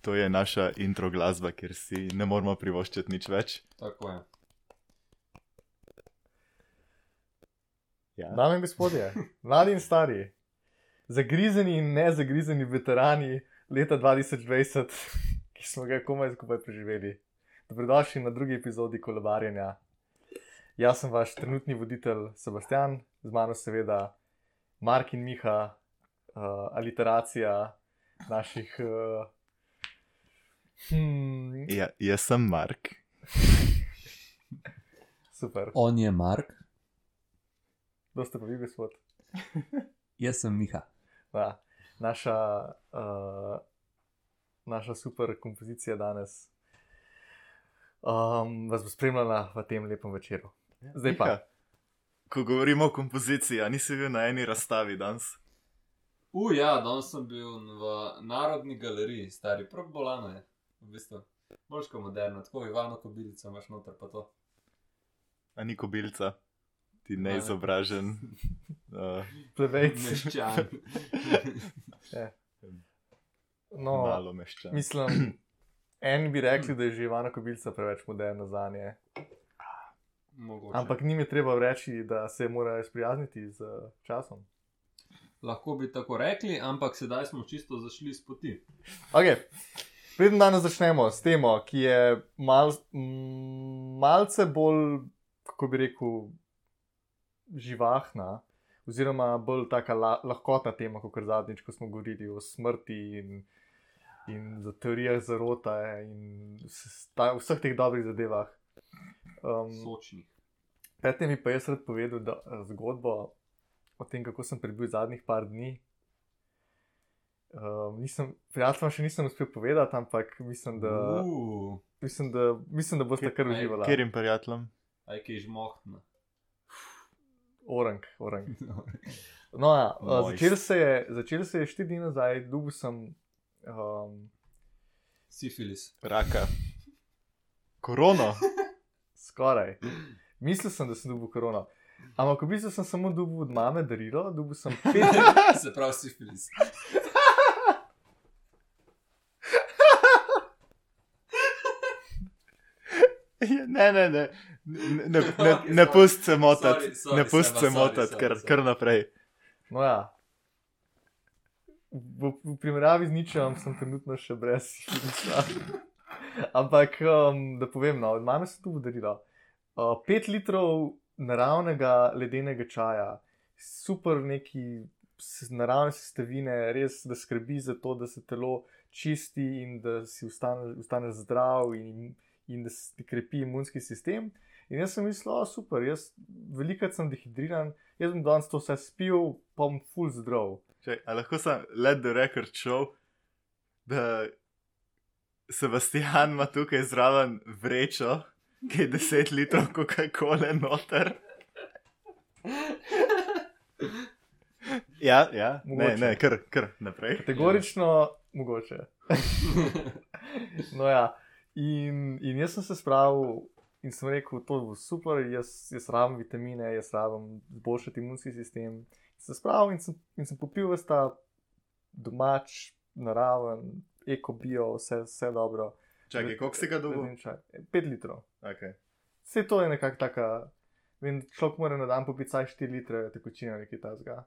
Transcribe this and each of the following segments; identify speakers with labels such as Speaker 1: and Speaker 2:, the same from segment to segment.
Speaker 1: To je naša intro glasba, ker si ne moremo privoščiti nič več.
Speaker 2: Tako je.
Speaker 1: Ja.
Speaker 3: Dame in gospodje, mladi in stari, zagrizeni in nezagrizeni veterani leta 2020, ki smo ga komaj skupaj preživeli. Dobrodošli na drugi epizodi kolebarjenja. Jaz sem vaš trenutni voditelj Sebastian, z mano seveda Mark in Miha, uh, aliteracija naših. Uh, hmm,
Speaker 1: Ja, jaz sem Mark.
Speaker 3: super,
Speaker 2: On je Mark,
Speaker 3: kdo ste pa vi, gospod?
Speaker 2: jaz sem Miha.
Speaker 3: Da, naša, uh, naša super kompozicija danes um, vas bo spremljala v tem lepem večeru. Zdaj pa,
Speaker 1: Ja. Ko govorimo o kompoziciji, a nisi bil na eni razstavi danes?
Speaker 4: U, ja, danes sem bil v Narodni galeriji, stari prav bolano je, v bistvu. Moško moderno, tako Ivano Kobilico imaš noter pa to.
Speaker 1: A ni kobilca, ti
Speaker 4: Ne.
Speaker 1: neizobražen. Uh,
Speaker 3: plebejci.
Speaker 4: Meščan.
Speaker 3: No,
Speaker 1: Malo ja. meščan.
Speaker 3: mislim, en bi rekli, da je že Ivana Kobilca preveč moderna za nje.
Speaker 4: Mogoče.
Speaker 3: Ampak njim je treba reči, da se morajo sprijazniti z eh, časom.
Speaker 4: Lahko bi tako rekli, ampak sedaj smo čisto zašli s poti.
Speaker 3: Okay. Preden danes začnemo s temo, ki je mal, m, malce bolj, kako bi rekel, živahna, oziroma bolj tako la, lahkotna tema, kot zadnjič, ko smo govorili o smrti in, in za teorijah zarota in s- ta, vseh teh dobrih zadevah. Um,
Speaker 4: Sočnih.
Speaker 3: Predtem bi pa jaz rad povedal da, eh, zgodbo o tem, kako sem prebil zadnjih par dni. Um, nisem, prijateljem še nisem uspel povedati, ampak mislim, da,
Speaker 4: U,
Speaker 3: mislim, da, mislim, da boste kar
Speaker 4: Kaj-
Speaker 3: uživali.
Speaker 1: Katerim prijateljem?
Speaker 4: Aj, ki je žmohtna.
Speaker 3: Orang, orang. No, ja, eh,
Speaker 1: Mojst.
Speaker 3: začel se je, začel se je štiri dni nazaj, dugo sem. Um,
Speaker 4: Sifilis.
Speaker 1: Raka. Korono.
Speaker 3: Skoraj. Mislil sem, da sem dobil korono. Ampak v bistvu sem samo dobil od mame darilo, dobil sem pet,
Speaker 4: Se pravi, sifilis.
Speaker 1: Ja, Ne, ne, ne. Ne, ne, ne,
Speaker 4: Okej,
Speaker 1: ne
Speaker 4: sorry.
Speaker 1: pusti se motati,
Speaker 4: Sorry, sorry,
Speaker 1: ne pusti
Speaker 4: Seba,
Speaker 1: se
Speaker 4: sorry,
Speaker 1: motati,
Speaker 4: sorry,
Speaker 1: kar,
Speaker 4: sorry.
Speaker 1: kar naprej.
Speaker 3: No ja. V, v primerjavi z ničem sem trenutno še brez smisla. Ampak um, da povem, no, od mame se tu podarilo. Uh, pet litrov naravnega ledenega čaja, super neki s- naravne sestavine, res da skrbi za to, da se telo čisti in da si ostane, ostane zdrav in, in da se ti krepi imunski sistem. In jaz sem mislil, "O, super, jaz velikrat sem dehidriran, jaz bom danes to vse spil, pa bom full zdrav.
Speaker 1: Čakaj, a lahko sem let the record show, da Sebastian ima tukaj zraven vrečo, ki je 10 litrov Coca-Cola noter. Ja, ja, ne,
Speaker 3: Mogoče.
Speaker 1: ne, kar, kar naprej.
Speaker 3: Kategorično, mogoče. No ja. In, in jaz sem se spravil in sem rekel, to bo super, jaz, jaz rabim vitamine, jaz rabim boljšati imunski sistem. Se spravil in sem, in sem popil vse ta domač, naraven, ekobio, vse, vse dobro.
Speaker 1: Čakaj, koliko si ga dobil?
Speaker 3: Leden čaj. Pet litrov.
Speaker 1: Okay.
Speaker 3: Vse to je nekako taka. Vem, človek mora na dan popiti vsaj 4 litre tekočine, nekaj tasga.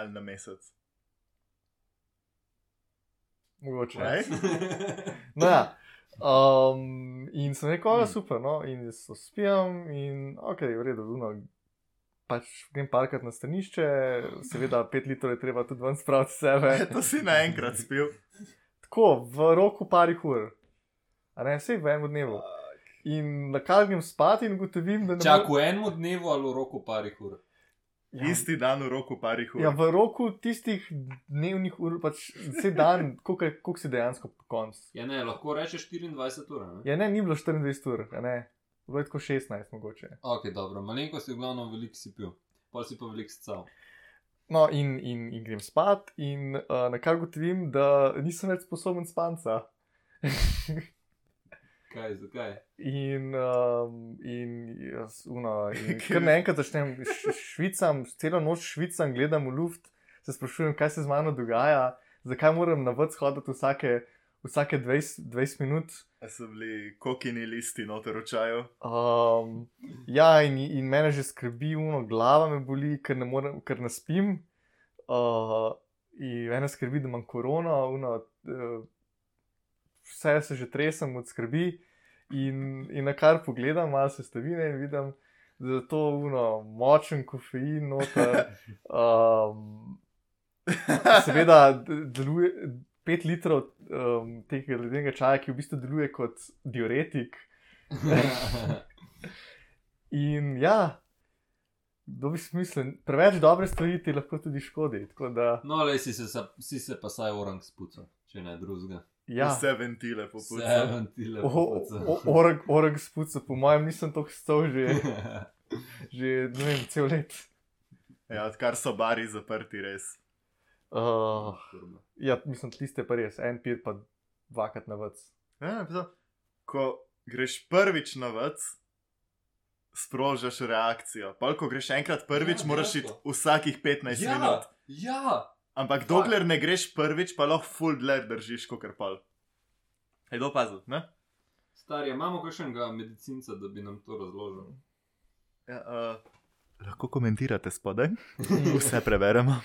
Speaker 1: Ali na mesec.
Speaker 3: Mogoče.
Speaker 1: Kaj?
Speaker 3: No, ja. um, in sem rekel, da je super, no, in jaz to spijem, in ok, v redu, luno. Pač grem parkrat na stanišče, seveda, pet litrov je treba tudi ven spraviti sebe.
Speaker 1: To si naenkrat spil.
Speaker 3: Tako, v roku parih ur, a ne vse v enem dnevu. In na kar grem spat in gotovim, da ne
Speaker 4: Čak v enem dnevu ali v roku parih ur.
Speaker 3: Ja.
Speaker 1: Isti dan v roku parih ur.
Speaker 3: Ja, v roku tistih dnevnih ur, pač vse dan, koliko si dejansko po koncu.
Speaker 4: Ja, ne, lahko rečeš 24 ur. Ne?
Speaker 3: Ja, ne, ni bilo 24 ur, a ne, bilo je tako 16 mogoče.
Speaker 4: Ok, dobro, malenko si v glavnem velik si pil, pol si pa velik scal.
Speaker 3: No, in, in, in grem spat, in uh, na kar gotovim, da nisem več sposoben spanca.
Speaker 4: Kaj, zakaj?
Speaker 3: In, um, in, jaz, uno, in kar naenkrat začnem š- švicam, celo noč švicam, gledam v luft, se sprašujem, kaj se z mano dogaja, zakaj moram na vrh hoditi vsake vsake 20, 20 minut.
Speaker 1: A so bili kokini listi noter v čaju.
Speaker 3: Um, ja, in, in mene že skrbi, uno, glava me boli, ker ne, morem, ker ne spim. Uh, in mene skrbi, da imam korono, uno, uh, vse se že tresem od skrbi. In, in na kar pogledam, malo sestavine in vidim, da je to uno, močen kofein, noter. Um, seveda d- deluje 5 litrov um, tega ledenega čaja, ki v bistvu deluje kot diuretik. In ja, dobi smisel. Preveč dobre stvari ti lahko tudi škodi. Tako da,
Speaker 4: no, le si se, sa- si se pa saj orang spucal, če ne drugega.
Speaker 1: Ja.
Speaker 3: ja,
Speaker 1: Vse ventile popucajo.
Speaker 4: Seven tile.
Speaker 3: o- o- org, org spuca, po mojem, nisem tako stal že, že ne vem, cel let.
Speaker 1: Ja, odkar so bari zaprti, res. Oh.
Speaker 3: Uh, ja, mislim, tiste pa res, en pir pa dvakrat na vrc.
Speaker 1: Ja, pa- ko greš prvič na vrt, sprožiš reakcijo. Pol, ko greš enkrat prvič,
Speaker 4: Ja,
Speaker 1: ja, moraš iti
Speaker 4: dejansko.
Speaker 1: vsakih 15 ja. minut.
Speaker 4: Ja, ja,
Speaker 1: Ampak dokler ne greš prvič, pa lahko full dler držiš, kot kar pol. Je to opazil, ne?
Speaker 4: stari, imamo kakšnega medicinca, da bi nam to razložil.
Speaker 1: Ja, uh... Lahko komentirate spodaj, vse preberemo.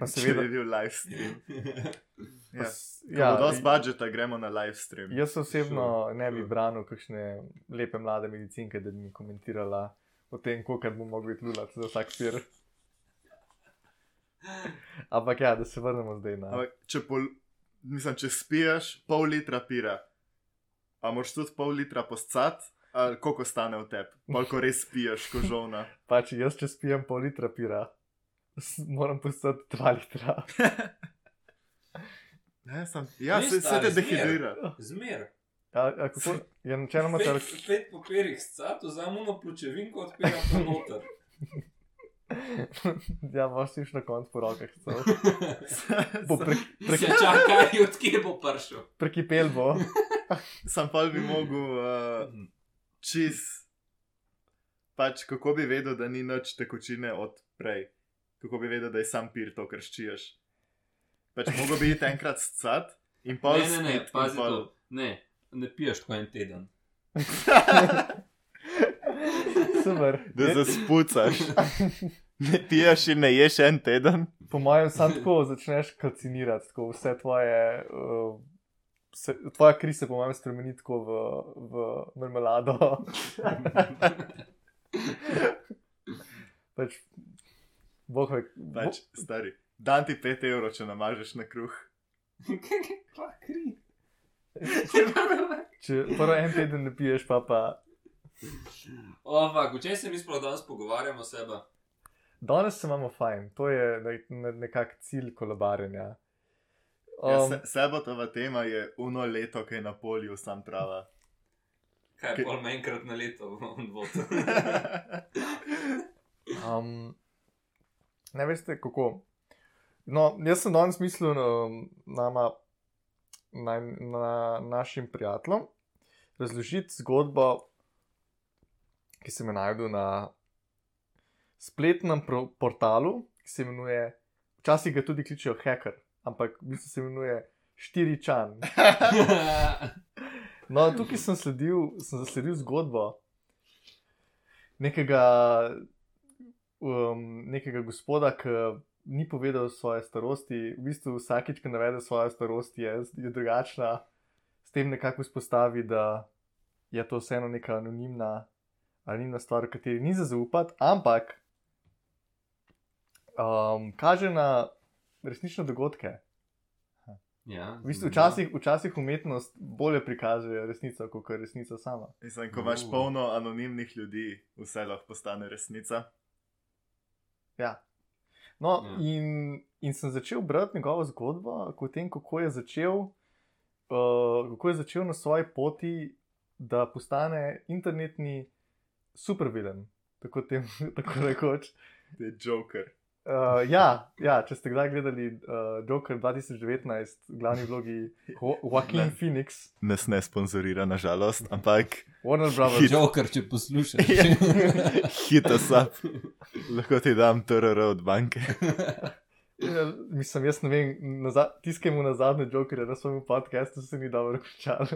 Speaker 3: Pa
Speaker 1: Seveda
Speaker 3: seveda.
Speaker 1: je bil live stream.
Speaker 3: Pa,
Speaker 1: Ja.
Speaker 3: s-
Speaker 1: Ja,
Speaker 3: ja,
Speaker 1: Dost budžeta gremo na live stream.
Speaker 3: jaz osebno ne bi
Speaker 4: sure.
Speaker 3: branil kakšne lepe mlade medicinke, da bi mi komentirala o tem, koliko bo mogel biti lulat za vsak pir. Ampak ja, da se vrnemo zdaj na.
Speaker 1: Ampak, če, pol, mislim, če spiješ pol litra pira, a moraš tudi pol litra poscat, ali koliko stane v tebi, koliko res spiješ, ko žovna.
Speaker 3: Pa če Pač jaz če spijem pol litra pira, s- moram postati dva litra.
Speaker 1: Ne, sem, ja,
Speaker 4: Ni
Speaker 1: se, se
Speaker 4: stari,
Speaker 1: te
Speaker 4: zmer.
Speaker 1: dehidrira.
Speaker 4: Zmer.
Speaker 3: Ja, ja, kako, je načeloma ter,
Speaker 4: Pet papirjih s cato, zamuno pločevinko odpira pa noter.
Speaker 3: ja, imaš si na koncu po rokah. celo. Bo pre,
Speaker 4: Pre... Se čakaj, odkje bo prišel.
Speaker 3: prekipel bo.
Speaker 1: Sam pa bi mogel uh,
Speaker 4: Mhm.
Speaker 1: čist. Pač kako bi vedel, da ni nič tekočine od prej, kako bi vedel, da je sam pir to, kar ščiješ. Pač mogo bi iti enkrat scat in pa
Speaker 4: Ne, ne, ne, pazi to. Ne, ne piješ tako en teden.
Speaker 3: Super.
Speaker 1: Da
Speaker 3: Je-
Speaker 1: zaspucaš. Ne piješ in ne ješ en teden.
Speaker 3: Po mojem, samo tako začneš kalcinirati, tako vse tvoje. Uh, Se, tvoja kri se, po mojem, spremeni tako v, v marmelado. Pač, boh ve,
Speaker 1: Pač, stari. Dan ti 5 evrov, če namažeš na kruh.
Speaker 4: Pa kri.
Speaker 3: če prvo en teden ne piješ, pa pa.
Speaker 4: Ova, o čem se mi sploh danes pogovarjamo sebe?
Speaker 3: Danes se imamo fajn, to je ne- ne- nekako cilj kolobarjenja.
Speaker 1: Um, ja,
Speaker 3: Um,
Speaker 1: se, sebotova tema je uno leto, ki je na polju sam trava.
Speaker 4: Kaj
Speaker 1: Kaj-
Speaker 4: pol me enkrat na leto v vodu.
Speaker 3: Um, ne veste, kako. No, jaz sem danes mislil um, nama, na, na našim prijateljem razložiti zgodbo, ki sem jo najdel na spletnem pro, portalu, ki se imenuje, včasih ga tudi kličejo hacker, ampak v bistvu se imenuje Štiričan. No, tukaj sem sledil, sem zasledil zgodbo nekega, um, nekega gospoda, ki ni povedal svoje starosti. V bistvu vsakič, ki navede svojo starost, je, je drugačna. S tem nekako izpostavi, da je to vseeno neka anonimna, anonimna stvar, v kateri ni za zaupati, ampak um, kaže na resnične dogodke.
Speaker 4: Ja,
Speaker 3: V bistvu, včasih, včasih umetnost bolje prikazuje resnico, kot je resnica sama.
Speaker 1: Mislim, ko imaš
Speaker 4: Uh.
Speaker 1: polno anonimnih ljudi, vse lahko postane resnica.
Speaker 3: Ja. No,
Speaker 4: Ja.
Speaker 3: in, in sem začel brati njegovo zgodbo, ko o tem, kako je začel, uh, kako je začel na svoji poti, da postane internetni supervilen, tako, tem, tako rekoč.
Speaker 1: To je Joker.
Speaker 3: Uh, ja, ja, če ste kdaj gledali uh, Joker 2019, v glavni vlogi Jo- Joaquin
Speaker 1: Ne.
Speaker 3: Phoenix,
Speaker 1: Nas ne sponzorira, nažalost, ampak
Speaker 3: Warner Bros.
Speaker 4: Joker, če poslušaš.
Speaker 3: Ja.
Speaker 1: hita sap. Lahko ti dam TRR od banke.
Speaker 3: Ja, mislim, jaz ne vem, naza- tiskajmo na zadnje jokerje, na svojem podkastu se ni dobro končalo.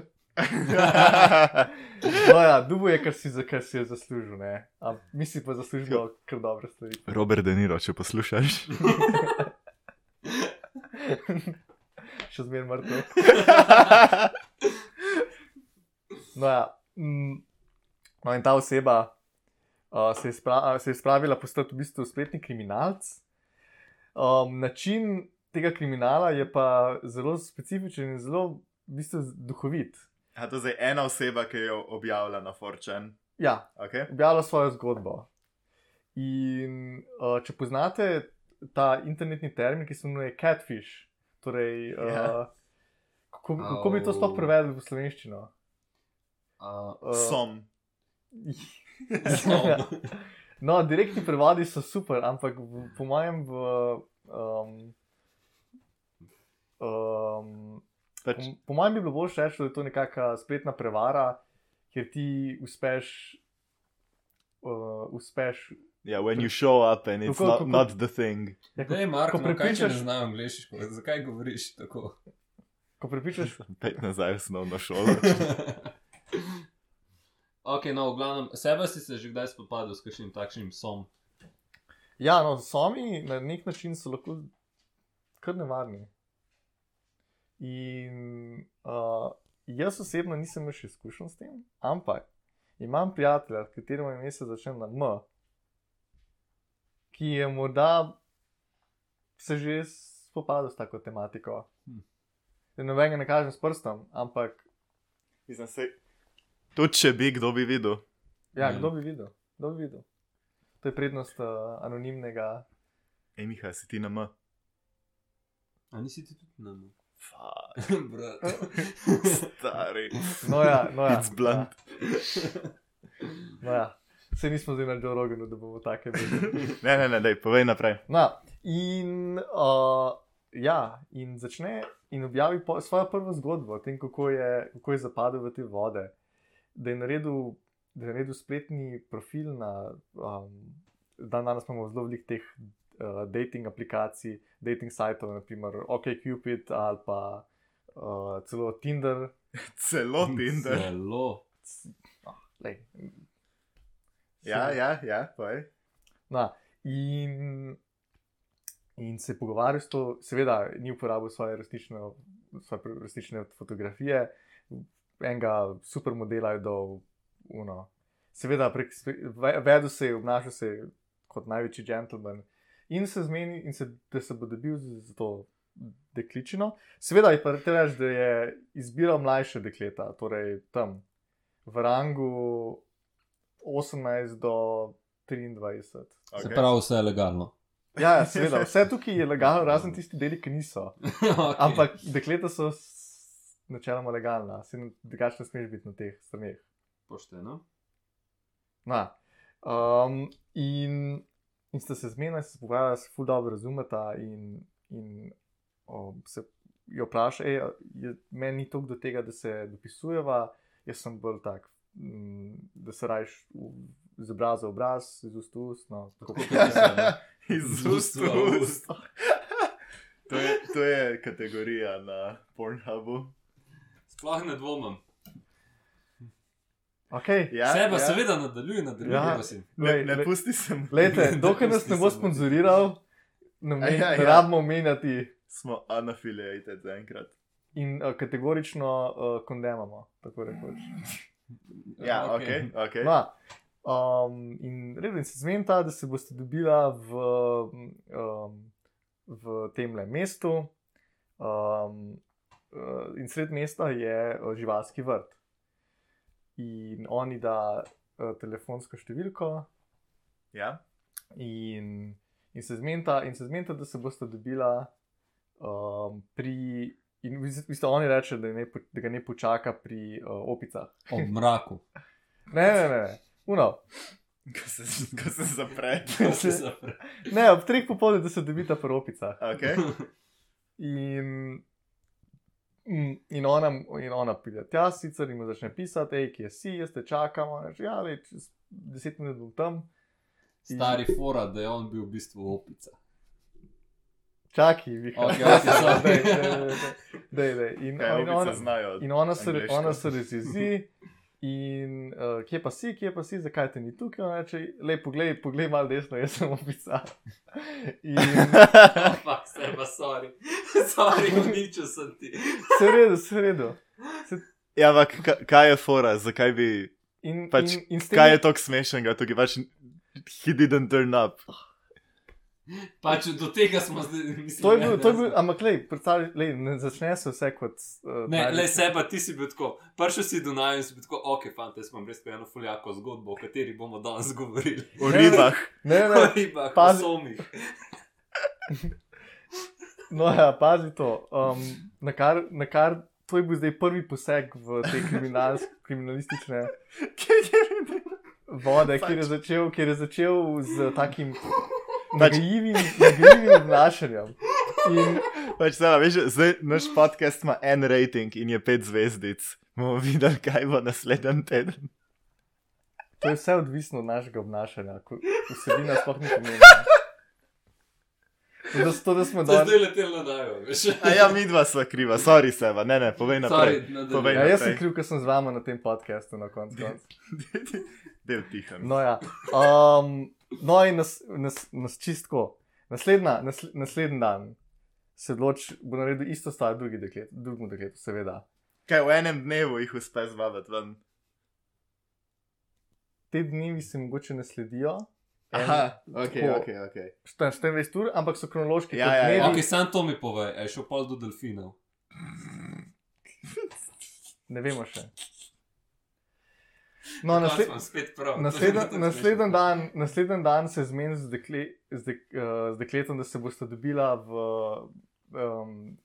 Speaker 3: No, ja, dubo je, kar si, za- kar si je zaslužil, ne. A mi si pa zaslužimo kar dobre stvari.
Speaker 1: Robert De Niro, če poslušaš.
Speaker 3: Še zmeraj mrtev. No, ja. mm, no in ta oseba uh, se, je spra- se je spravila postati v bistvu spletni kriminalc. Um, način tega kriminala je pa zelo specifičen in zelo v bistvu z- duhovit.
Speaker 1: A to je ena oseba, ki jo objavlja na Forčen.
Speaker 3: Ja,
Speaker 1: Okay?
Speaker 3: objavila svojo zgodbo. In uh, če poznate ta internetni termin, ki se imenuje catfish, torej, uh, yeah.
Speaker 1: Ja.
Speaker 3: kako, kako bi to sploh
Speaker 4: Au.
Speaker 3: prevedli v slovenščino?
Speaker 4: Uh,
Speaker 3: Uh,
Speaker 1: Som.
Speaker 4: Som.
Speaker 3: no, direktni prevodi so super, ampak v, po mojem, v, um, um,
Speaker 1: Pač,
Speaker 3: po, po mojem bi bilo bolje reči, da je to nekakšna spletna prevara, kjer ti uspeš. Uh, uspeš
Speaker 1: yeah, when you show up and it's not,
Speaker 3: Kako- kako-
Speaker 1: not the thing.
Speaker 3: ja, ko,
Speaker 4: Dej, Marko,
Speaker 3: ko
Speaker 4: prepričaš... kaj če ne
Speaker 3: prepričaš-
Speaker 4: znam angliško? Zakaj govoriš tako?
Speaker 3: ko prepričaš
Speaker 1: Pet nazaj v osnovno šolo.
Speaker 4: ok, no, v glavnem, sebe si se že kdaj spopadel s kakšnim takšnim som.
Speaker 3: Ja, no, somi na nek način so lahko kar nevarni. In uh, jaz osebno nisem imel še izkušen s tem, ampak imam prijatelja, kateremu ime se začne na M, ki je morda se že spopadal s tako tematiko.
Speaker 4: Hm.
Speaker 3: Zdaj, Nobenega ne kažem s prstom, ampak
Speaker 1: Mislim, saj- Tudi če bi kdo bi videl.
Speaker 3: ja,
Speaker 1: Mhm.
Speaker 4: Ja.
Speaker 3: kdo bi videl? Kdo bi videl? To je prednost uh, anonimnega.
Speaker 1: Ej, Miha, si ti na M.
Speaker 4: A nisi ti tudi na no? meni?
Speaker 1: Fuck,
Speaker 4: Brat.
Speaker 1: Stari.
Speaker 3: No, ja, no, ja.
Speaker 1: It's blunt.
Speaker 3: No, ja. Vse nismo zdaj na Joe Roganu, da bomo take bili.
Speaker 1: Ne, ne, ne, daj, povej naprej.
Speaker 3: No, in, uh, ja, in začne in objavi po, svojo prvo zgodbo o tem, kako je, kako je zapadel v te vode. Da je naredil, da je naredil spletni profil na. Um, Dan danes imamo zelo veliko teh uh, dating aplikacij, dating sajtov, naprimer OKCupid ali pa uh, celo Tinder.
Speaker 1: Celo Tinder.
Speaker 4: Zelo.
Speaker 3: no, Lej.
Speaker 1: Ja, ja, ja, povej.
Speaker 3: Na, in, in se je pogovarjal s to, seveda, ni uporabil svoje resnično, svoje pr- resnične fotografije, enega supermodela je do uno. Seveda, prek, spe- ve- vedel se je, obnašal se je kot največji gentleman in se zmeni, in se, da se bo dobil z, z to dekličino. Seveda je pa te reči, da je izbiral mlajše dekleta, torej tam v rangu 18 do 23.
Speaker 4: Okay. Se
Speaker 1: Okay.
Speaker 4: pravi, vse je legalno.
Speaker 3: Ja, ja, seveda, vse tukaj je legalno, razen tisti deli, ki niso.
Speaker 4: okay.
Speaker 3: Ampak dekleta so s- načeloma legalna, se drugače ne smeš biti na teh straneh.
Speaker 4: Pošteno.
Speaker 3: Na. Um, in, in sta se zmenila, se pogovarjala, se ful dobro razumeta. In, in um, se jo vpraša, "Ej, a je- meni ni toliko do tega, da se dopisujeva, jaz sem bolj tak, mm, da se rajš z obraza v obraz, z ust v ust. No, tako
Speaker 4: Tako kot se da.
Speaker 1: Iz ust v ust. To je, to je kategorija na Pornhubu.
Speaker 4: Sploh ne dvomim.
Speaker 3: okay.
Speaker 1: Ja,
Speaker 4: Ja, Seba ja.
Speaker 1: ja.
Speaker 4: seveda nadaljuje, nadaljuje.
Speaker 3: Ja.
Speaker 4: Ja. Prosim.
Speaker 1: Ne,
Speaker 3: Lej,
Speaker 1: ne
Speaker 3: lej.
Speaker 1: pusti se mu.
Speaker 3: Lejte, dokler nas ne bo sponzoriral, ne,
Speaker 1: Aja,
Speaker 3: me,
Speaker 1: ja.
Speaker 3: ne rabimo omenjati
Speaker 1: Smo unaffiliated zaenkrat.
Speaker 3: in uh, kategorično uh, kondemamo, tako rekoč.
Speaker 1: Ja, ok,
Speaker 4: Okej.
Speaker 1: ok. okay.
Speaker 3: No, um, in redno se zmenita, da se boste dobila v, um, v tem le mestu. Um, eh, in sred mesta je eh, živalski vrt. In oni da eh, telefonsko številko,
Speaker 1: Ja,
Speaker 3: in, in se zmenita, in se zmenita, da se bosta dobila um, pri. In v bistvu- v bistvu oni reče, da, je ne, po- da ga ne počaka pri uh, opicah.
Speaker 4: Ob mraku.
Speaker 3: Ne, ne, ne, ne. uno.
Speaker 1: ko se, ko se zapre.
Speaker 4: Ko se zapre.
Speaker 3: Ne, ob treh popoldne, da se dobita pri opicah.
Speaker 1: Okay.
Speaker 3: In, in, in, ona, in ona pride tja, sicer jim začne pisati, hej, kje si, jaz te čakam. Ona Reče, ja, le, čez deset minut bom tam.
Speaker 4: Stari fora, da je on bil v bistvu opica.
Speaker 3: Čakaj, vi
Speaker 4: Okej, okej, sorry.
Speaker 1: Kaj,
Speaker 3: In on,
Speaker 1: obice znajo.
Speaker 3: In ona se, re-
Speaker 1: angleško.
Speaker 3: ona se razjezi. In uh, kje pa si, kje pa si, zakaj te ni tukaj? Ona reče, le poglej, poglej malo desno, jaz sem opisal. In
Speaker 4: Ampak se pa, sorry. sorry, uničil sem ti.
Speaker 3: se je redo, se je redo.
Speaker 1: Ja, ampak ka- kaj je fora, zakaj bi.
Speaker 3: In,
Speaker 1: Pač,
Speaker 3: in, in s tem,
Speaker 1: Kaj je tako smešnega, tukaj pač. He didn't turn up.
Speaker 4: Pač do tega smo zdaj. Mislim,
Speaker 3: to je bil, to je bil, ampak lej, predstavljaj, lej, ne začne se vse kot. Uh,
Speaker 4: Ne, le seba, ti si bil tako. Prišel si do naju in si bil tako, ok, fanti, jaz imam res eno fuljako zgodbo, o kateri bomo danes govorili.
Speaker 1: O ribah.
Speaker 3: ne,
Speaker 4: O
Speaker 3: ne,
Speaker 4: ribah, o
Speaker 3: Pazi.
Speaker 4: somih.
Speaker 3: no ja, pazi to. Um, na kar, na kar, to je bil zdaj prvi poseg v te kriminals- kriminalistične vode, kjer je začel, kjer je začel z takim
Speaker 1: Pač-
Speaker 3: nagajivim, nagajivim obnašanjem. In
Speaker 1: pač, sama, veš, zdaj, naš podcast ima en rating in je pet zvezdic. Bomo videli, kaj bo naslednji teden.
Speaker 3: to je vse odvisno od našega obnašanja, ko vsebina sploh ni pomembna. To, da, to, da smo
Speaker 4: To je
Speaker 3: danes.
Speaker 4: zdaj letel na naju, veš.
Speaker 1: A ja, midva sva kriva, sorry, Seba, ne, ne, povej naprej.
Speaker 4: Sorry, nadaljuj.
Speaker 1: Povej
Speaker 3: Ja, jaz sem
Speaker 1: naprej.
Speaker 3: kriv, ker sem z vama na tem podkastu na koncu. koncev.
Speaker 1: Del tihem.
Speaker 3: No, ja. um, no in nas, nas, nas čistko. Naslednja, nasl, naslednji dan se odloči, bo naredil isto stvar drugi deklet, drugemu dekletu, seveda.
Speaker 1: Kaj v enem dnevu jih uspe zvabiti ven?
Speaker 3: Te dnevi se mogoče ne sledijo. En-
Speaker 1: Aha, ok,
Speaker 3: tako.
Speaker 1: ok, ok.
Speaker 3: 24 ur, ampak so kronološki.
Speaker 1: Ja,
Speaker 3: kot
Speaker 1: ja, ja.
Speaker 3: dnevi.
Speaker 4: Ok, sam to mi povej, a je šel pol do
Speaker 1: No,
Speaker 4: delfinov.
Speaker 3: Ne vemo še. No, nasled,
Speaker 4: Pač imam spet prav.
Speaker 3: nasleden,
Speaker 4: To je
Speaker 3: nasleden,
Speaker 4: smešno.
Speaker 3: dan, nasleden dan se zmeni z, dekle, z, dek, uh, z dekletom, da se bosta dobila v um,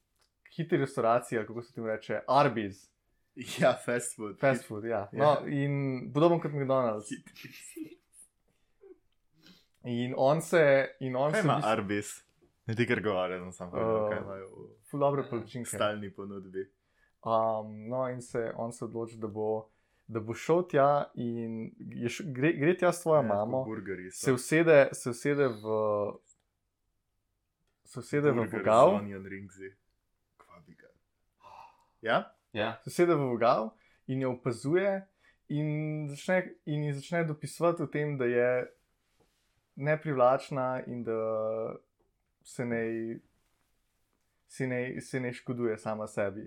Speaker 3: hitri restauraciji, ali kako se ti reče, Arby's,
Speaker 1: Ja, fast food.
Speaker 3: fast food. Ja. No,
Speaker 1: Ja.
Speaker 3: in podobno kot McDonald's. In on se, in on
Speaker 1: Kaj
Speaker 3: se,
Speaker 1: ima Arbis? Ne ti kar govorim, sem povedal, kaj
Speaker 3: Eh,
Speaker 1: imajo v
Speaker 3: ful dobre palačinke.
Speaker 1: stalni ponudbi.
Speaker 3: Um, no, in se, on se odloči, da bo, da bo šel tja in je š, gre, gre tja s svojo
Speaker 1: Ne,
Speaker 3: mamo.
Speaker 1: tako Burgerji so.
Speaker 3: se usede, se usede v. Se usede v
Speaker 1: Burger z
Speaker 3: vogal,
Speaker 1: Onion ringsi. Kva bi ga. Ja?
Speaker 4: Ja,
Speaker 3: se usede v vogal in jo opazuje, in, začne, in ji začne dopisovati o tem, da je neprivlačna in da se ne, se ne, se ne škoduje sama sebi.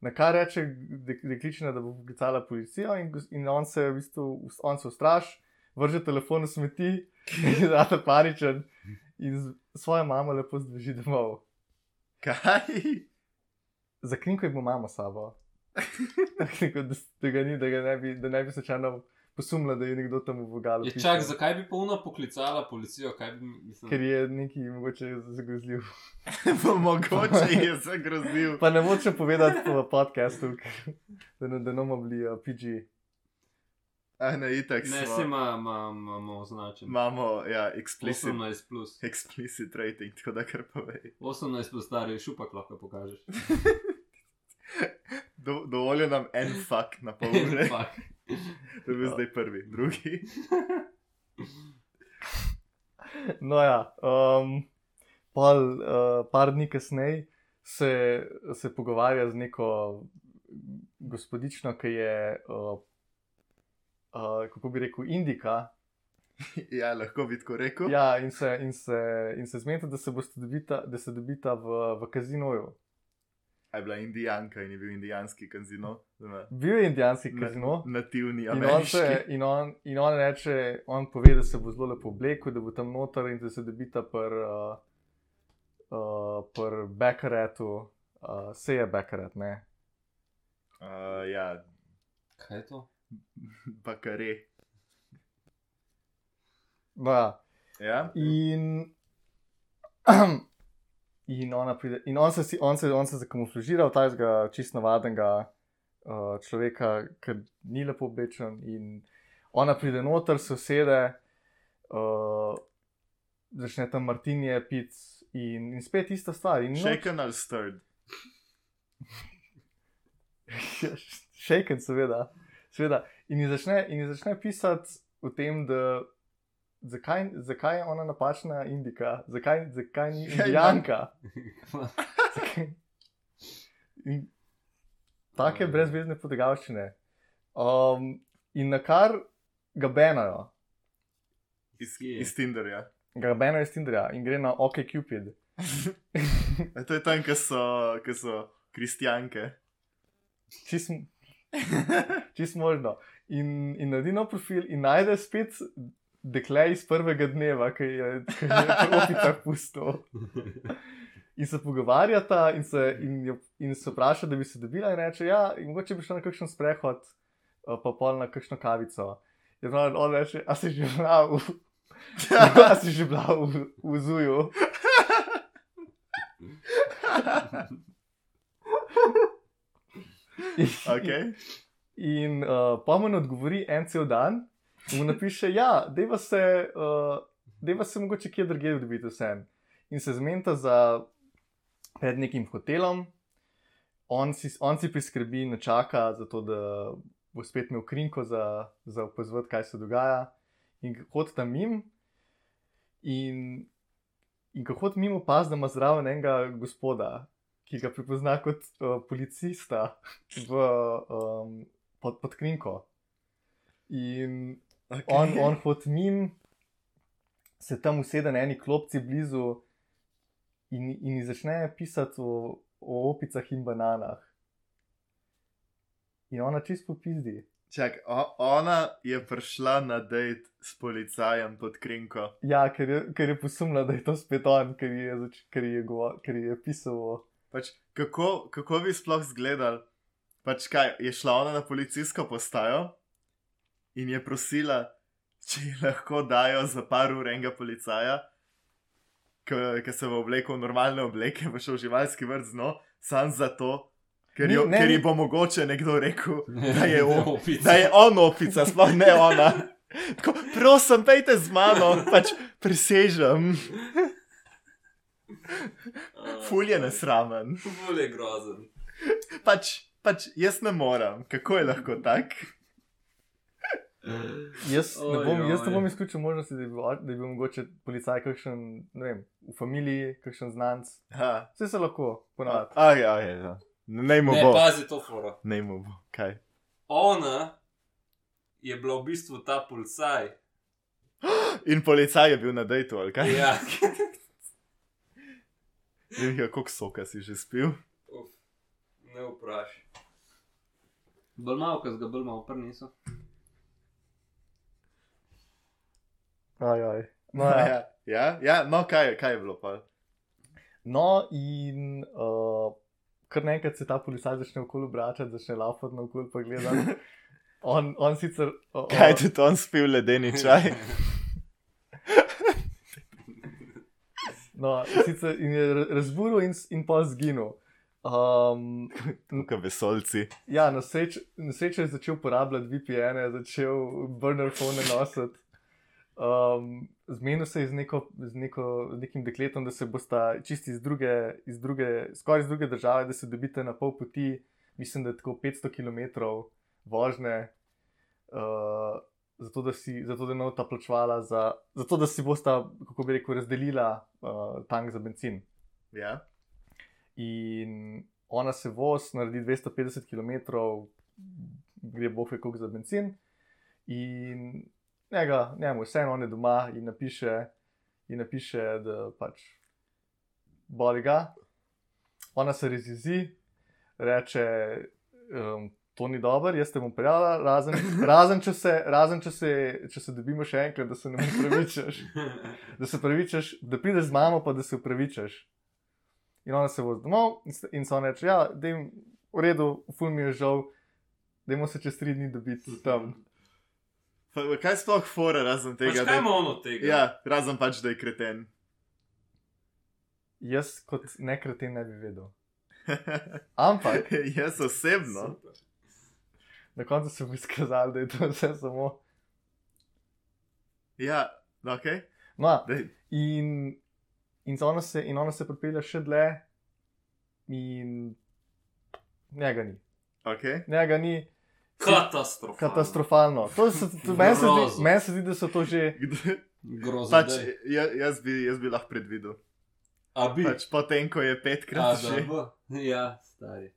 Speaker 3: Na kar reče dek- dekličina, da bo poklicala policijo, in, gos- in on se v bistvu us- on se ustraši, vrže telefon v smeti, in zate paničen, in z- svojo mamo lepo zdrži domov.
Speaker 1: Kaj?
Speaker 3: Zakrinkaj bo mamo s sabo. Tako da, s- da ga ni, da, ga ne, bi, da ne bi slučajno posumila, da je nekdo tam v vogalu.
Speaker 4: je
Speaker 3: piše,
Speaker 4: čak, zakaj bi polno poklicala policijo, kaj bi mislim.
Speaker 3: Ker je neki mogoče zagozljiv.
Speaker 1: Bo mogoče je zagrozil.
Speaker 3: Pa ne moče povedati po podkastu, ker- da ne da ne bomo bili uh, PG.
Speaker 1: A ne, itak
Speaker 4: Ne, se
Speaker 1: smo.
Speaker 4: imamo označen.
Speaker 1: Imamo, ja, explicit,
Speaker 4: 18 plus.
Speaker 1: explicit rating, tako da kar povej.
Speaker 4: 18 plus stari, šupak lahko pokažeš.
Speaker 1: Do, dovolj je nam en fakt na pol ure.
Speaker 4: Fuck.
Speaker 1: To je bil zdaj prvi, drugi.
Speaker 3: No ja, um, pol, uh, par dni kasneje se, se pogovarja z neko gospodično, ki je, uh, uh, kako bi rekel, indika.
Speaker 1: Ja, lahko bi tako rekel.
Speaker 3: Ja, in se, in se, in se zmeta, da se boste dobita, da se dobita v, v kazinoju.
Speaker 1: A je bila indijanka in je bil indijanski kazino. oziroma
Speaker 3: Bil je indijanski
Speaker 1: na-
Speaker 3: kazino.
Speaker 1: Nativni
Speaker 3: In on,
Speaker 1: ameriški.
Speaker 3: se, in, on, in on reče, on pove, da se bo zelo lepo oblekel, da bo tam noter in da se dobita pr, uh, uh, pr Bekaretu, uh, se je Bekaret, ne.
Speaker 1: Uh, ja,
Speaker 4: Kaj je to?
Speaker 1: pa kare.
Speaker 3: No, ja.
Speaker 1: Ja?
Speaker 3: in, in, ona pride, in on, se, si- on, se, on se zakamuflažira v tajega čist navadnega uh, človeka, ki ni lepo oblečen. In ona pride noter, se usede, uh, začne tam martinje pit. In, in spet ista stvar. In
Speaker 1: Shaken ali stirred.
Speaker 3: Shaken, seveda. seveda. In ji začne, in ji začne pisati o tem, da, zakaj, zakaj je ona napačna indika, zakaj, zakaj ni
Speaker 1: Ja, ima-
Speaker 3: indijanka. Zakaj- In take
Speaker 4: Mm.
Speaker 3: brezvezne podegavščine. Um, in na kar ga benajo,
Speaker 1: Iz,
Speaker 4: Kje?
Speaker 1: iz ja. Tinderja.
Speaker 3: ga benajo iz Tinderja in gre na OK Cupid.
Speaker 1: E, to je tam, kjer so, ke so kristjanke.
Speaker 3: Čist m- Čist možno. In, in naredi nov profil in najde spet dekle iz prvega dneva, ki je ki jo je v opicah pustil. In se pogovarjata, in se, in, jo, in se vpraša, da bi se dobila, in reče: Ja, in mogoče bi šla na kakšen sprehod, eh, pa pol na kakšno kavico. In on, on reče: A si že bila v, a si že bila v, v Zuju. In,
Speaker 1: okay.
Speaker 3: In uh, pomen odgovori en cel dan, in mu napiše, da ja, se, uh, se mogoče kje drugje dobiti vsem. In se zmenta za pred nekim hotelom, on si, on si priskrbi in čaka, zato da bo spet imel krinko za, za opazovati, kaj se dogaja. In hod tam mim, in, in ko hod mimo, opazi, da ima zraven enega gospoda, ki ga prepozna kot uh, policista v, um, pod, pod krinko. In
Speaker 1: Okay.
Speaker 3: on, on hod mimo, se tam usede na eni klopci blizu in, in ji začne pisati o, o opicah in bananah. In ona čisto popizdi.
Speaker 1: Čak, o, ona je prišla na dejt s policajem pod krinko.
Speaker 3: Ja, ker je, ker je posumila, da je to spet on, ker ji je, zač- ker ji je, govo- ker ji je pisal o
Speaker 1: Pač, kako, kako bi sploh izgledal? Pač kaj, je šla ona na policijsko postajo in je prosila, če ji lahko dajo za par ur enega policaja, ki se bo oblekel v normalne obleke, pa šel v živalski vrt zno, sam zato, ker,
Speaker 3: Ni-
Speaker 1: jo,
Speaker 3: ne,
Speaker 1: ker
Speaker 3: ni-
Speaker 1: ji bo mogoče nekdo rekel, da je, o,
Speaker 4: opica.
Speaker 1: da je on opica, sploh ne ona. Tako, prosim, pejte z mano, pač presežem,
Speaker 4: No,
Speaker 1: ful je nesramen.
Speaker 4: Ful je grozen.
Speaker 1: pač, pač jaz ne morem, kako je lahko tak.
Speaker 3: Jaz ne
Speaker 4: Oj,
Speaker 3: bom, jaz ne
Speaker 4: oj.
Speaker 3: bom izključil možnosti, da bi bil, da bi bil mogoče policaj, kakšen, ne vem, v familiji, kakšen znanc.
Speaker 1: Ha.
Speaker 3: Vse se lahko ponavlja.
Speaker 1: Aj, aj, aj, aj. no. Ne mu
Speaker 4: Ne,
Speaker 1: bo,
Speaker 4: pazi to foro.
Speaker 1: ne mu bo, kaj.
Speaker 4: Ona je bila v bistvu ta policaj.
Speaker 1: In policaj je bil na dejtu, ali kaj?
Speaker 4: Ja.
Speaker 1: Ne vem, kako soka si že spil.
Speaker 4: Uf, ne vprašaj. Bolj malo, ker ga bolj malo prniso.
Speaker 3: Aj, aj. No, ja.
Speaker 1: Ja, ja, ja no kaj, kaj je bilo pa?
Speaker 3: no in uh, kar naenkrat se ta policaj začne okoli obračati, začne lapati na okol, pa gledati. On, on sicer. o- o-
Speaker 1: Kaj je tudi on spil ledeni čaj?
Speaker 3: No, sicer in je ra- razburil in, s- in pa zginil. Um,
Speaker 1: Tukaj vesolci.
Speaker 3: ja, na sreč- na srečo je začel uporabljati VPN, je začel burner phone nositi. Um, zmenil se je z, neko, z, neko, z nekim dekletom, da se bosta čisti iz druge, iz druge, skoraj iz druge države, da se dobite na pol poti, mislim, da je tako 500 km vožnje, uh, zato da si, zato da ne bosta plačvala, za, zato da si bosta, kako bi rekel, razdelila uh, tank za benzin
Speaker 1: Ja.
Speaker 3: in ona se voz, naredi 250 km, gre boh ve koliko za benzin. In njega, njemu vseeno on je doma in napiše, in napiše da pač boli ga. Ona se razjezi, reče, um, to ni dobro, jaz te bom prijavila, razen, razen, če, se, razen če, se, če se dobimo še enkrat, da se ne upravičaš da se pravičeš, da prideš z mamo, pa da se upravičeš. In ona se vozi domov in s- in se ona reče, ja, da jim v redu, ful mi je žal, da jim se čez tri dni dobiti tam.
Speaker 1: Pa, kaj sploh fora razen
Speaker 4: Pač
Speaker 1: tega?
Speaker 4: kaj
Speaker 1: da-
Speaker 4: ima ono od tega?
Speaker 1: Ja, razen pač, da je kreten.
Speaker 3: Jaz kot nekreten ne bi vedel. Ampak
Speaker 1: jaz osebno.
Speaker 4: Super.
Speaker 3: na koncu se bo izkazalo, da je to vse samo.
Speaker 1: Ja, ok.
Speaker 3: No,
Speaker 1: Dej,
Speaker 3: in, in, se ona se, in ona se pripelje še dlje, in njega ni.
Speaker 1: ok.
Speaker 3: Njega ni
Speaker 4: Katastrofalno.
Speaker 3: katastrofalno. To se- to- Meni se, zdi-
Speaker 4: Grozno.
Speaker 3: meni se zdi, da so to že.
Speaker 1: Kdo-
Speaker 4: Grozno.
Speaker 1: Pač, ja- jaz, bi, jaz bi lahko predvidel.
Speaker 4: A bi.
Speaker 1: Pač potem, ko je
Speaker 4: A,
Speaker 1: petkrat
Speaker 4: da
Speaker 1: že.
Speaker 4: bo. Ja, stari.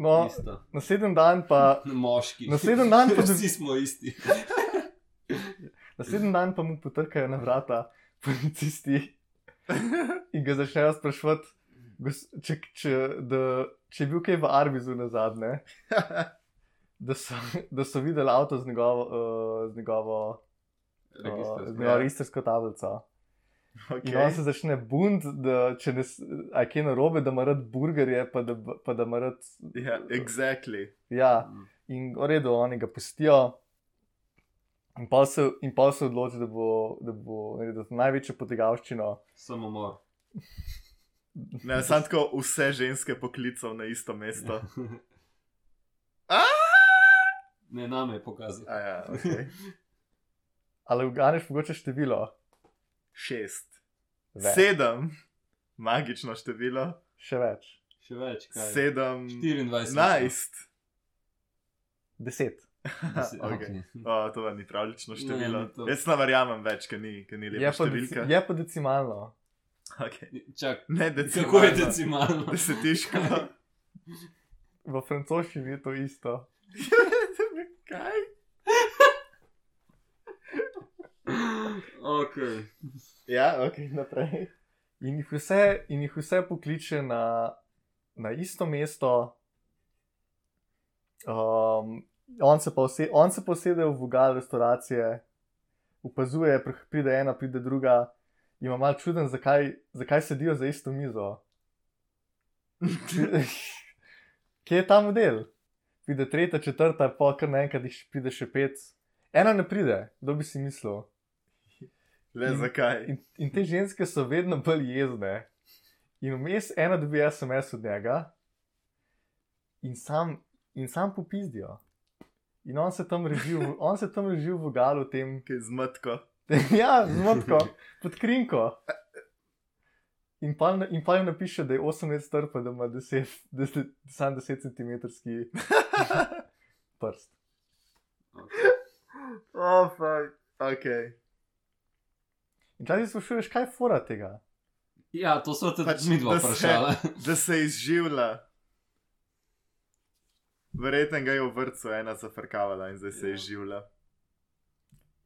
Speaker 3: No,
Speaker 4: Isto.
Speaker 3: naslednji dan pa,
Speaker 4: Moški.
Speaker 3: Naslednji dan pa-
Speaker 4: Vsi smo isti.
Speaker 3: naslednji dan pa mu potrkajo na vrata policisti in ga začnejo sprašovati, gos- če, če, da, če je bil kaj v Arbizu na zadnje, da so, da so videli avto z njegovo, uh, z njegovo, uh, z
Speaker 4: Registrsko. ja.
Speaker 3: njegovo registrsko tablico. In okay. on se
Speaker 1: okay.
Speaker 3: začne bunt, da če ne, s- a je kaj narobe, da ima rad burgerje, pa da, pa da ima rad.
Speaker 1: yeah, Ja, exactly.
Speaker 3: Ja,
Speaker 4: Mm.
Speaker 3: in v redu, oni ga pustijo. In pa se, in pol se odloči, da bo, da bo naredil to največjo potegavščino.
Speaker 4: Samomor.
Speaker 1: Ne, sam tako vse ženske poklical na isto mesto. A!
Speaker 4: Ne, nam je pokazal.
Speaker 1: A ja, okay.
Speaker 3: Ali uganeš mogoče število?
Speaker 1: Šest.
Speaker 3: Več.
Speaker 1: Sedem. Magično število.
Speaker 3: Še več.
Speaker 4: Še več, kaj. je?
Speaker 1: Sedem.
Speaker 4: 24.
Speaker 1: Enajst.
Speaker 3: Deset.
Speaker 4: Deset-
Speaker 1: Okej.
Speaker 4: okej.
Speaker 1: O, to ni pravlično
Speaker 4: Ne,
Speaker 1: število.
Speaker 4: ni to.
Speaker 1: Jaz ne verjamem več, ker ni, ker ni
Speaker 3: Je
Speaker 1: lepa
Speaker 3: Ja, pa, deci,
Speaker 1: številka.
Speaker 3: je pa decimalno.
Speaker 1: Okay.
Speaker 4: Čak,
Speaker 1: Ne, decimalno.
Speaker 4: kako je decimalno?
Speaker 1: Desetiško.
Speaker 3: V francoščini je to isto.
Speaker 1: Kaj?
Speaker 4: ok.
Speaker 1: Ja, ok, naprej.
Speaker 3: In jih vse, in jih vse pokliče na, na isto mesto. Um, on, se pa vse, on se posede v vogal restauracije, opazuje, pr- pride ena, pride druga. In ima malo čuden, zakaj, zakaj sedijo za isto mizo. Kje je ta model? Pride tretja, četrta, pa kar naenkrat jih še- pride še pet. Ena ne pride, kdo bi si mislil.
Speaker 1: Le zakaj?
Speaker 3: In, in te ženske so vedno bolj jezne. In vmes ena dobi SMS od njega, in sam, in sam popizdijo. In on se tam reži, v- on se tam reži v vogalu, tem,
Speaker 1: Kaj z matko.
Speaker 3: ja, zmotko, pod krinko. In pa, na- in pa jim napiše, da je 8 let star, pa da ima 10, 10, sam 10 cm prst.
Speaker 4: okay.
Speaker 1: O, oh, fuck. Ok.
Speaker 3: In časi sprašuješ, kaj je fora tega?
Speaker 4: Ja, to so te
Speaker 1: Pač,
Speaker 4: pač, mi dva
Speaker 1: da se-
Speaker 4: vprašala.
Speaker 1: Da se izživlja. Verjetno ga je v vrtu ena zafrkavala in zdaj se
Speaker 4: Ja.
Speaker 1: je izživlja.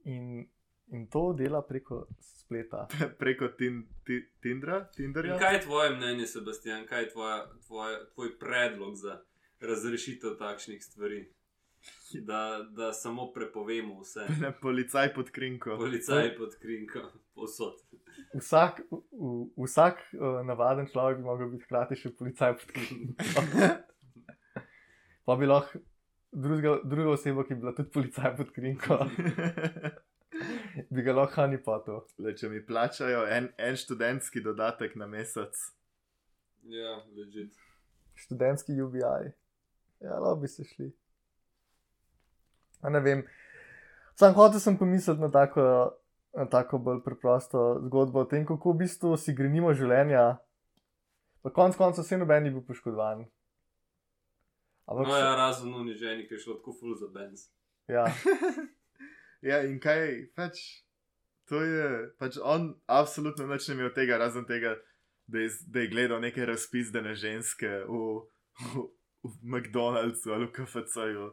Speaker 3: In, in to dela preko spleta.
Speaker 1: Preko tin, ti, Tindra? Tinderja?
Speaker 5: In kaj je tvoje mnenje, Sebastian, kaj je tvoja, tvoja, tvoj predlog za razrešitev takšnih stvari? Da, da samo prepovemo vse,
Speaker 1: Ne, policaj pod krinko.
Speaker 5: policaj pod krinko, posod.
Speaker 3: Vsak, v, vsak uh, navaden človek bi lahko bil hkrati še policaj pod krinko. pa bi lahko drugega, druga oseba, ki bi bila tudi policaj pod krinko, bi ga lahko hani potil.
Speaker 1: Le, če mi plačajo en, en študentski dodatek na mesec.
Speaker 5: Ja, ležite.
Speaker 3: Študentski UBI. Ja, lahko bi se šli. A ne vem. Sam hotel sem pomisliti na tako, na tako bolj preprosto zgodbo o tem, kako v bistvu si grenimo življenja. Na koncu koncev se noben ni bil poškodovan. Ampak,
Speaker 5: No, ja, razen uniženi, ki je šlo tako full za benz.
Speaker 3: ja.
Speaker 1: Ja, in kaj, pač to je, pač on absolutno nič ne imel tega, razen tega, da je, z- da je gledal neke razpizdene ženske v, v, v McDonald'su ali v KFC-ju,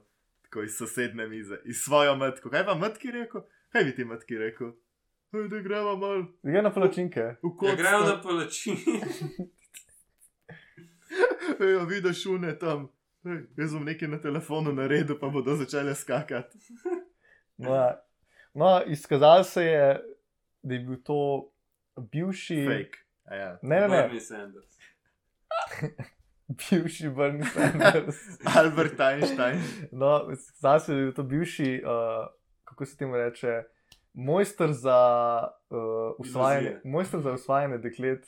Speaker 1: tako iz sosedne mize, iz svojo matko. Kaj pa matki rekel? Kaj bi ti matki rekel? Hej, da gremo malo
Speaker 3: Gre na palačinke.
Speaker 5: Ja,
Speaker 1: v kot.
Speaker 5: grejo na palačin.
Speaker 1: Hej, a vidiš une tam. Hej, jaz bom nekaj na telefonu naredil, pa bodo začele skakati.
Speaker 3: No, ja. no izkazalo se je, da je bil to bivši.
Speaker 1: Fake. A Ja.
Speaker 3: Ne, ne, ne,
Speaker 5: Bernie Sanders.
Speaker 3: bivši Bernie Sanders.
Speaker 1: Albert Einstein.
Speaker 3: No, izkazalo se je, da je bil to bivši, uh, kako se temu reče, mojster za, uh, usvajanje,
Speaker 5: Iluzije.
Speaker 3: mojster za usvajanje deklet.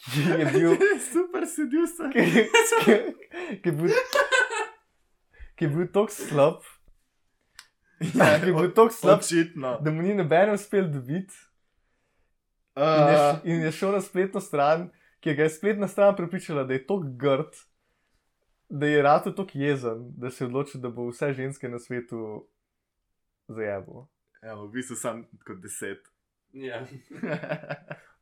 Speaker 3: Ki je bil,
Speaker 1: Super sedil sem.
Speaker 3: ki, ki, ki je bil, ki je bil tako slab, Ja, ki je bil tako slab,
Speaker 1: Ja, Očitno.
Speaker 3: da mu ni noben uspel dobiti. In
Speaker 1: Uh,
Speaker 3: je, š- in je šel na spletno stran, ki ga je spletna stran pripričala, da je tako grd, da je rado tako jezen, da se je odločil, da bo vse ženske na svetu zajeval.
Speaker 1: Evo, v bistvu sam kot deset.
Speaker 5: Ja.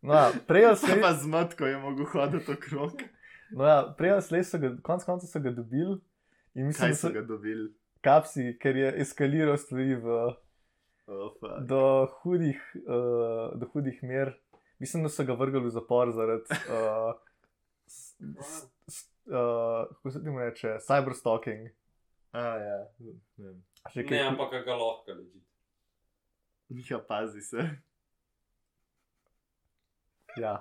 Speaker 3: No, ja, prej ali
Speaker 1: Sam
Speaker 3: slej,
Speaker 1: pa zmatko je mogel hoditi okrog.
Speaker 3: no, ja, prej ali slej so ga, konc konca so ga dobili in mislim,
Speaker 1: Kaj
Speaker 3: da
Speaker 1: so
Speaker 3: so
Speaker 1: ga dobili?
Speaker 3: kapsi, ker je eskaliral stvari v,
Speaker 1: Oh, fuck.
Speaker 3: do, hudih, uh, do hudih mer. Mislim, da so ga vrgli v zapor zaradi. Uh, s, s, s, uh, kako se temu reče? Cyberstalking.
Speaker 1: A, ja. Ne vem.
Speaker 3: Še
Speaker 5: Ne,
Speaker 3: kaj-
Speaker 5: ampak ga lahko leži.
Speaker 1: Ja, pazi se.
Speaker 3: Ja,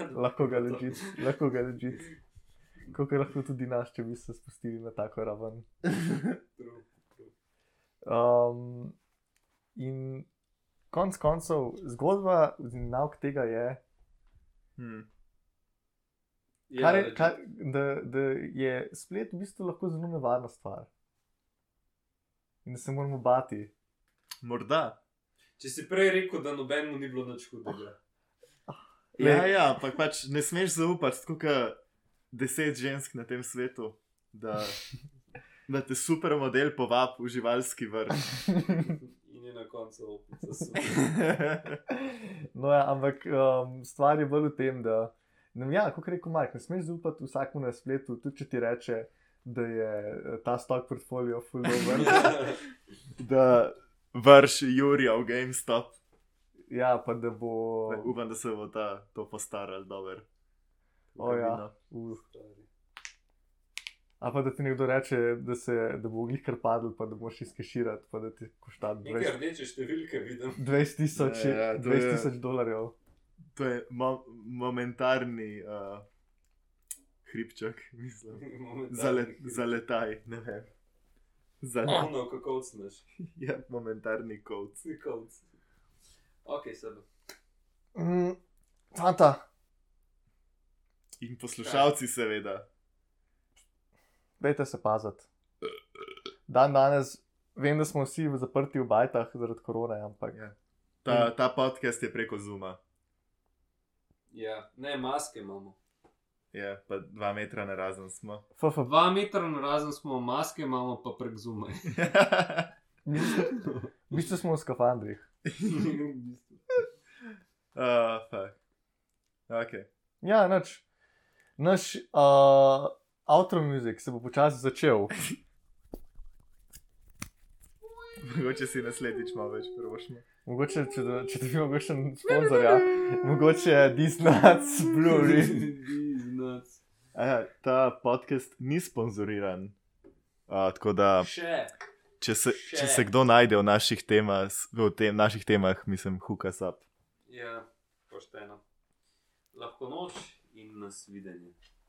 Speaker 3: lahko ga leži, lahko ga leži. Kako lahko tudi naš, če bi se spustili na tako raven. Um, in konc koncev, zgodba in nauk tega je,
Speaker 1: Hm.
Speaker 5: Ja,
Speaker 3: kar je
Speaker 5: legit.
Speaker 3: kar, da, da je splet v bistvu lahko zelo nevarna stvar. In da se moramo bati.
Speaker 1: Morda.
Speaker 5: Če si prej rekel, da nobenemu ni bilo nič hudega.
Speaker 3: Glej.
Speaker 1: Ja, ja, ampak pač ne smeš zaupati, tako kot deset žensk na tem svetu, da, da te supermodel povabi v živalski vrt.
Speaker 5: In je na koncu opica.
Speaker 3: no, ja, ampak um, stvar je bolj v tem, da nam, ja, kot je rekel Mark, ne smeš zaupati vsakmu na spletu, tudi če ti reče, da je eh, ta stock portfolio full over.
Speaker 1: da vrš Jurija v GameStop.
Speaker 3: ja, pa da bo.
Speaker 1: Upam, da se bo ta, to postaral dober.
Speaker 3: O, ja. Uh. A pa da ti nekdo reče, da, se, da bo glih kar padel, pa da boš izkeširati, pa da ti košta
Speaker 5: Nekaj
Speaker 3: 20
Speaker 5: rdeče številke vidim.
Speaker 3: 20 tisoč
Speaker 1: Ja, ja, to je-
Speaker 3: 20 tisoč dolarjev.
Speaker 1: To je mo momentarni uh, hribček, mislim. Za, le za letaj, ne vem. Za le
Speaker 5: Ono, kako odsneš.
Speaker 1: ja, momentarni kod.
Speaker 5: Vsi konc. Ok, sebe.
Speaker 3: Mm, tata,
Speaker 1: In poslušalci, seveda.
Speaker 3: Pejte se paziti. Dan danes, vem, da smo vsi v zaprti v bajtah zaradi korone, ampak
Speaker 1: Ja. Ta, ta podcast je preko Zuma,
Speaker 5: Ja, ne, maske imamo.
Speaker 1: je, pa dva metra na razen smo.
Speaker 3: FFB.
Speaker 5: Dva metra na razen smo, maske imamo pa prek zume.
Speaker 3: V bistvu smo v skafandrih.
Speaker 1: uh, fuck. okay.
Speaker 3: Ja, noč. Naš uh, outro music se bo počasi začel.
Speaker 1: Mogoče si naslednjič malo več prvošmo.
Speaker 3: Mogoče, če, do- če dobimo še sponzorja, mogoče Disney's Blu-ray.
Speaker 5: Znac.
Speaker 1: Aja, ta podcast ni sponzoriran. Uh, tako
Speaker 3: Ja.
Speaker 1: da,
Speaker 5: Še.
Speaker 1: če se,
Speaker 5: Še.
Speaker 1: če se kdo najde v naših, tema, v tem, naših temah, mislim, huka sap.
Speaker 5: Ja, pošteno. Lahko noč in nas videnje.